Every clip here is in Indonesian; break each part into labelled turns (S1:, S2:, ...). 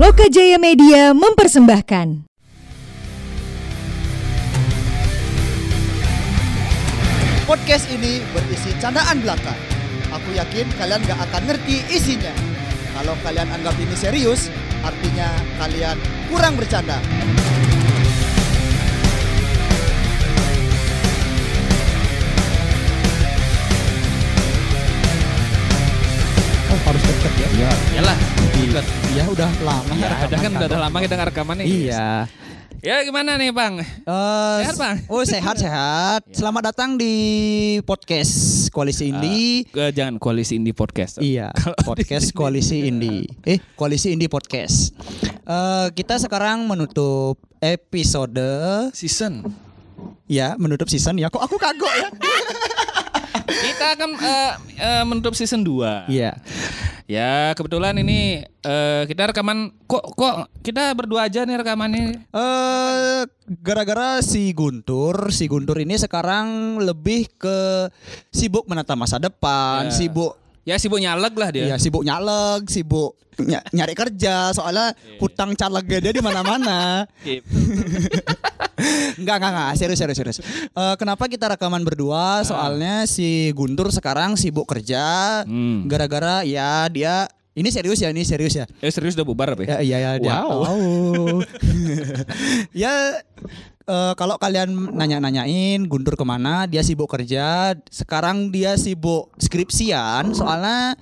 S1: Loka Jaya Media mempersembahkan.
S2: Podcast ini berisi candaan belaka. Aku yakin kalian gak akan ngerti isinya. Kalau kalian anggap ini serius, artinya kalian kurang bercanda.
S3: Oh, harus dekat ya? Iya.
S4: Yalah, ikut.
S3: Ya udah lama.
S4: Ya, udah kan udah,
S3: Rekaman,
S4: lama kita rekaman nih.
S3: Iya.
S4: Ya gimana nih, Bang?
S3: Eh,
S4: Sehat, Bang? Iya.
S3: Oh sehat sehat. Selamat datang di podcast Koalisi Indi.
S4: Eh, jangan koalisi indie podcast.
S3: Iya. Podcast Koalisi Indi. Eh Koalisi Indi Podcast. Eh kita sekarang menutup episode.
S4: Season.
S3: Ya menutup season ya. Kok aku kagok ya?
S4: Kita akan eh, eh, menutup season 2.
S3: Iya.
S4: Ya, kebetulan ini eh, kita rekaman kok kok kita berdua aja nih rekamannya.
S3: Eh gara-gara si Guntur, si Guntur ini sekarang lebih ke sibuk menata masa depan,
S4: Ya.
S3: sibuk
S4: Ya sibuk nyaleg lah dia.
S3: Iya sibuk nyaleg, sibuk ny- nyari kerja soalnya hutang calegnya dia di mana-mana. Enggak enggak enggak, serius serius serius. Eh, kenapa kita rekaman berdua? Soalnya si Guntur sekarang sibuk kerja
S4: Hmm.
S3: gara-gara ya dia ini serius ya, ini serius ya.
S4: Eh serius udah bubar apa
S3: Ya
S4: ya?
S3: iya ya dia
S4: Wow.
S3: tahu. ya eh, kalau kalian nanya-nanyain Guntur kemana dia sibuk kerja sekarang dia sibuk skripsian soalnya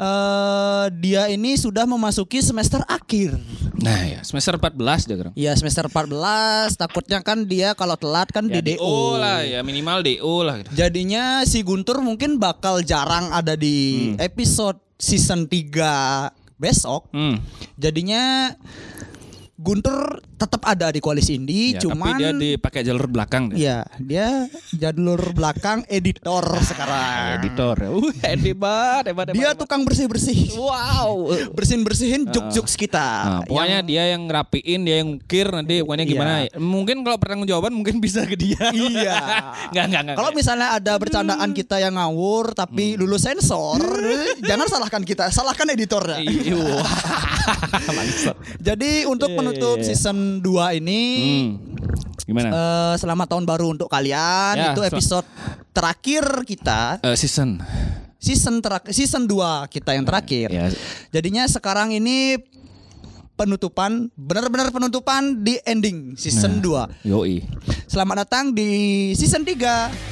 S3: eh, dia ini sudah memasuki semester akhir
S4: Nah, ya, semester 14 dia kurang.
S3: ya semester 14 takutnya kan dia kalau telat kan
S4: Ya,
S3: di DO,
S4: lah ya minimal DO lah gitu.
S3: jadinya si Guntur mungkin bakal jarang ada di episode season 3 besok
S4: Hmm.
S3: Jadinya Guntur tetap ada di koalisi Indi,
S4: Ya,
S3: cuman
S4: tapi dia dipakai jalur belakang dia.
S3: ya dia jadulur belakang editor sekarang.
S4: Editor. Uh, hebat, hebat, hebat.
S3: Dia tukang bersih bersih,
S4: Wow.
S3: bersihin bersihin juk juk kita. Ya,
S4: Nah, pokoknya
S3: Yang-
S4: dia yang rapiin, dia yang ukir nanti pokoknya
S3: Iya.
S4: gimana. Mungkin kalau pertanggung jawaban mungkin bisa ke dia.
S3: Iya.
S4: Enggak, enggak, enggak.
S3: kalau misalnya ada bercandaan kita yang ngawur
S4: Hmm.
S3: tapi dulu sensor, jangan salahkan kita, salahkan editornya.
S4: Iya.
S3: Jadi untuk menutup
S4: iya.
S3: season 2 ini
S4: Hmm. Gimana?
S3: eh, selamat tahun baru untuk kalian.
S4: Hmm. Ya,
S3: Itu
S4: sel-
S3: episode terakhir kita.
S4: Eh, season.
S3: season terak season 2 kita yang terakhir.
S4: Ya.
S3: Jadinya sekarang ini penutupan benar-benar penutupan di ending season 2.
S4: Yoi.
S3: Selamat datang di season 3